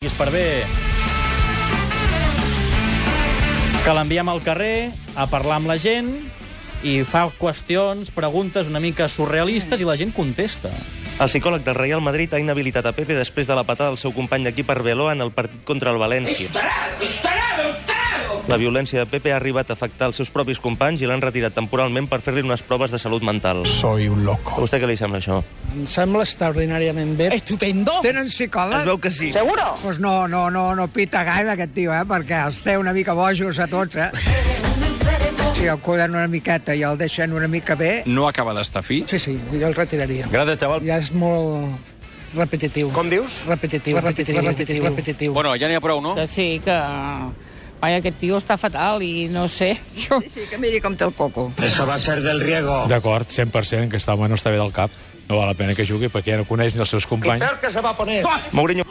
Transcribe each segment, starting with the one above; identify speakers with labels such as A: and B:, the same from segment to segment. A: Diguis per bé. Que l'enviem al carrer a parlar amb la gent i fa qüestions, preguntes una mica surrealistes i la gent contesta.
B: El psicòleg del Real Madrid ha inhabilitat a Pepe després de la patada del seu company d'equip Arbeloa en el partit contra el València. La violència de Pepe ha arribat a afectar els seus propis companys i l'han retirat temporalment per fer-li unes proves de salut mental.
C: Soy un loco.
B: A vostè què li sembla això?
D: Em sembla extraordinàriament bé.
E: Estupendo.
D: Tenen
B: Es
D: psicòleg?
B: veu que sí.
D: Pues no, no, no, no pita gaire aquest tio, eh? perquè els té una mica bojos a tots, eh? Si el cuiden una miqueta i el deixen una mica bé...
F: no acaba d'estar fi.
D: Sí, sí, jo el retiraria.
G: Gràcies, xaval.
D: Ja és molt repetitiu. Com dius? Repetitiu, repetitiu, repetitiu, repetitiu.
F: Bueno, ja n'hi ha prou, no?
E: Que sí, que... Vaja, aquest tio està fatal i no sé. Jo... Sí, sí, que miri com té el coco.
G: Oh.
H: D'acord, 100% que està home no està bé del cap. No val la pena que jugui perquè ja no coneix ni els seus companys.
B: Mourinho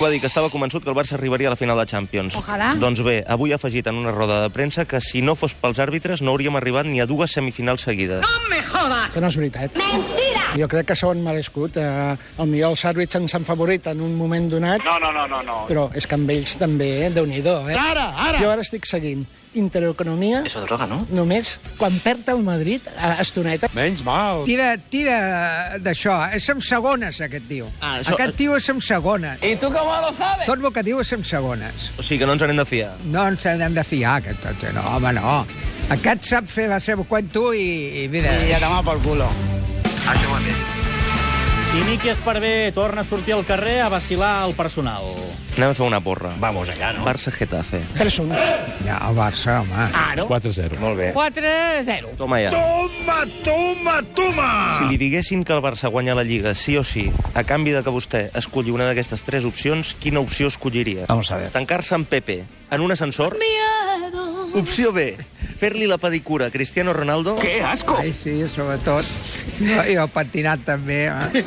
B: va dir que estava convençut que el Barça arribaria a la final de Champions.
I: Ojalà.
B: Doncs bé, avui ha afegit en una roda de premsa que si no fos pels àrbitres no hauríem arribat ni a dues semifinals seguides.
D: Això no és veritat. Mentira! Jo crec que s'ho han merescut. Eh, el millor els àrbits ens han favorit en un moment donat. No, no, no, no. no. Però és que amb ells també, eh? déu nhi eh? Ara, ara! Jo ara estic seguint intereconomia... Eso droga, no? Només quan perd el Madrid, a estoneta... Menys mal! Tira, tira d'això. És en segones, aquest tio. Ah, això... Aquest tio és en segones.
E: I tu com lo sabes?
D: Tot el que diu és en segones.
B: O sigui que no ens anem de fiar.
D: No ens hem de fiar, aquest tot. eh? No, home, no. Aquest sap fer la seva cuento i, i mira... I a tomar pel culo.
A: I Miqui Esparvé torna a sortir al carrer a vacilar el personal.
B: Anem a fer una porra.
G: Vamos allá, ¿no?
B: Barça-Getafe.
D: 3-1. Ja, el Barça, home.
H: 4-0.
B: Molt bé.
E: 4-0.
B: Toma ja. Toma, toma, toma! Si li diguessin que el Barça guanya la Lliga sí o sí, a canvi de que vostè escolli una d'aquestes tres opcions, quina opció escolliria?
G: Vamos a ver.
B: Tancar-se amb Pepe en un ascensor? Opció B, fer-li la pedicura a Cristiano Ronaldo? Què?
D: Ai, sí, sobretot. No, I el pentinat també. Eh?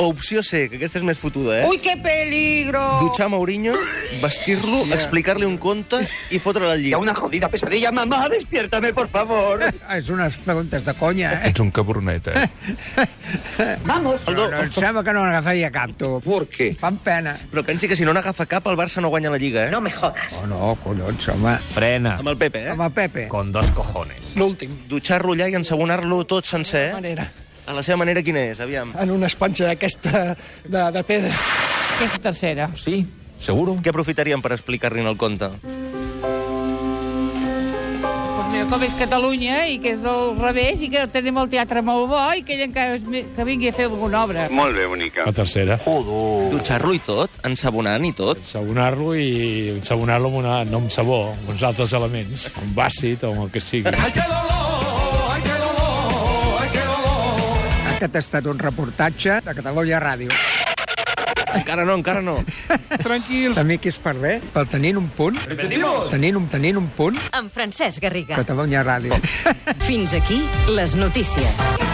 B: O opció C, que aquesta és més fotuda, eh?
E: Ui, que peligro!
B: Dutxar Mourinho, vestir-lo, explicar-li un conte i fotre la Lliga. Una...
D: Ah, És unes preguntes de conya, eh?
C: Ets un cabronet, eh?
D: No, em sembla que no n'agafaria cap, tu.
G: ¿Por qué?
D: Fan pena.
B: Però pensi que si no n'agafa cap, el Barça no guanya la Lliga, eh? No me...
D: Oh, no, collons, home.
G: Frena.
B: Amb el Pepe, eh?
D: Amb el Pepe.
G: Con dos cojones.
J: L'últim,
B: Dutxar-lo allà i ensabonar-lo tot sencer, eh?
J: manera,
B: A la seva manera quina és, aviam?
J: en una esponja d'aquesta de, de pedra.
E: Aquesta tercera.
G: Sí, seguro.
B: Què aprofitaríem per explicar-li en el conte?
E: Pues mira, com és Catalunya eh, i que és del revés i que tenim el teatre molt bo i que ell encara és mi- que vingui a fer alguna obra.
H: La tercera.
G: Oh.
B: Dutxar-lo i tot, ensabonar i tot.
H: Ensabonar-lo i ensabonar-lo amb una, no amb sabó, amb uns altres elements, amb àcid o amb el que sigui.
D: Aquest ha estat un reportatge de Catalunya Ràdio.
B: Encara no, encara no.
D: Tranquils. També que és per bé, pel tenint un punt. Tenint un, tenint un punt,
I: Amb Francesc Garriga.
D: Catalunya Ràdio.
I: Fins aquí les notícies.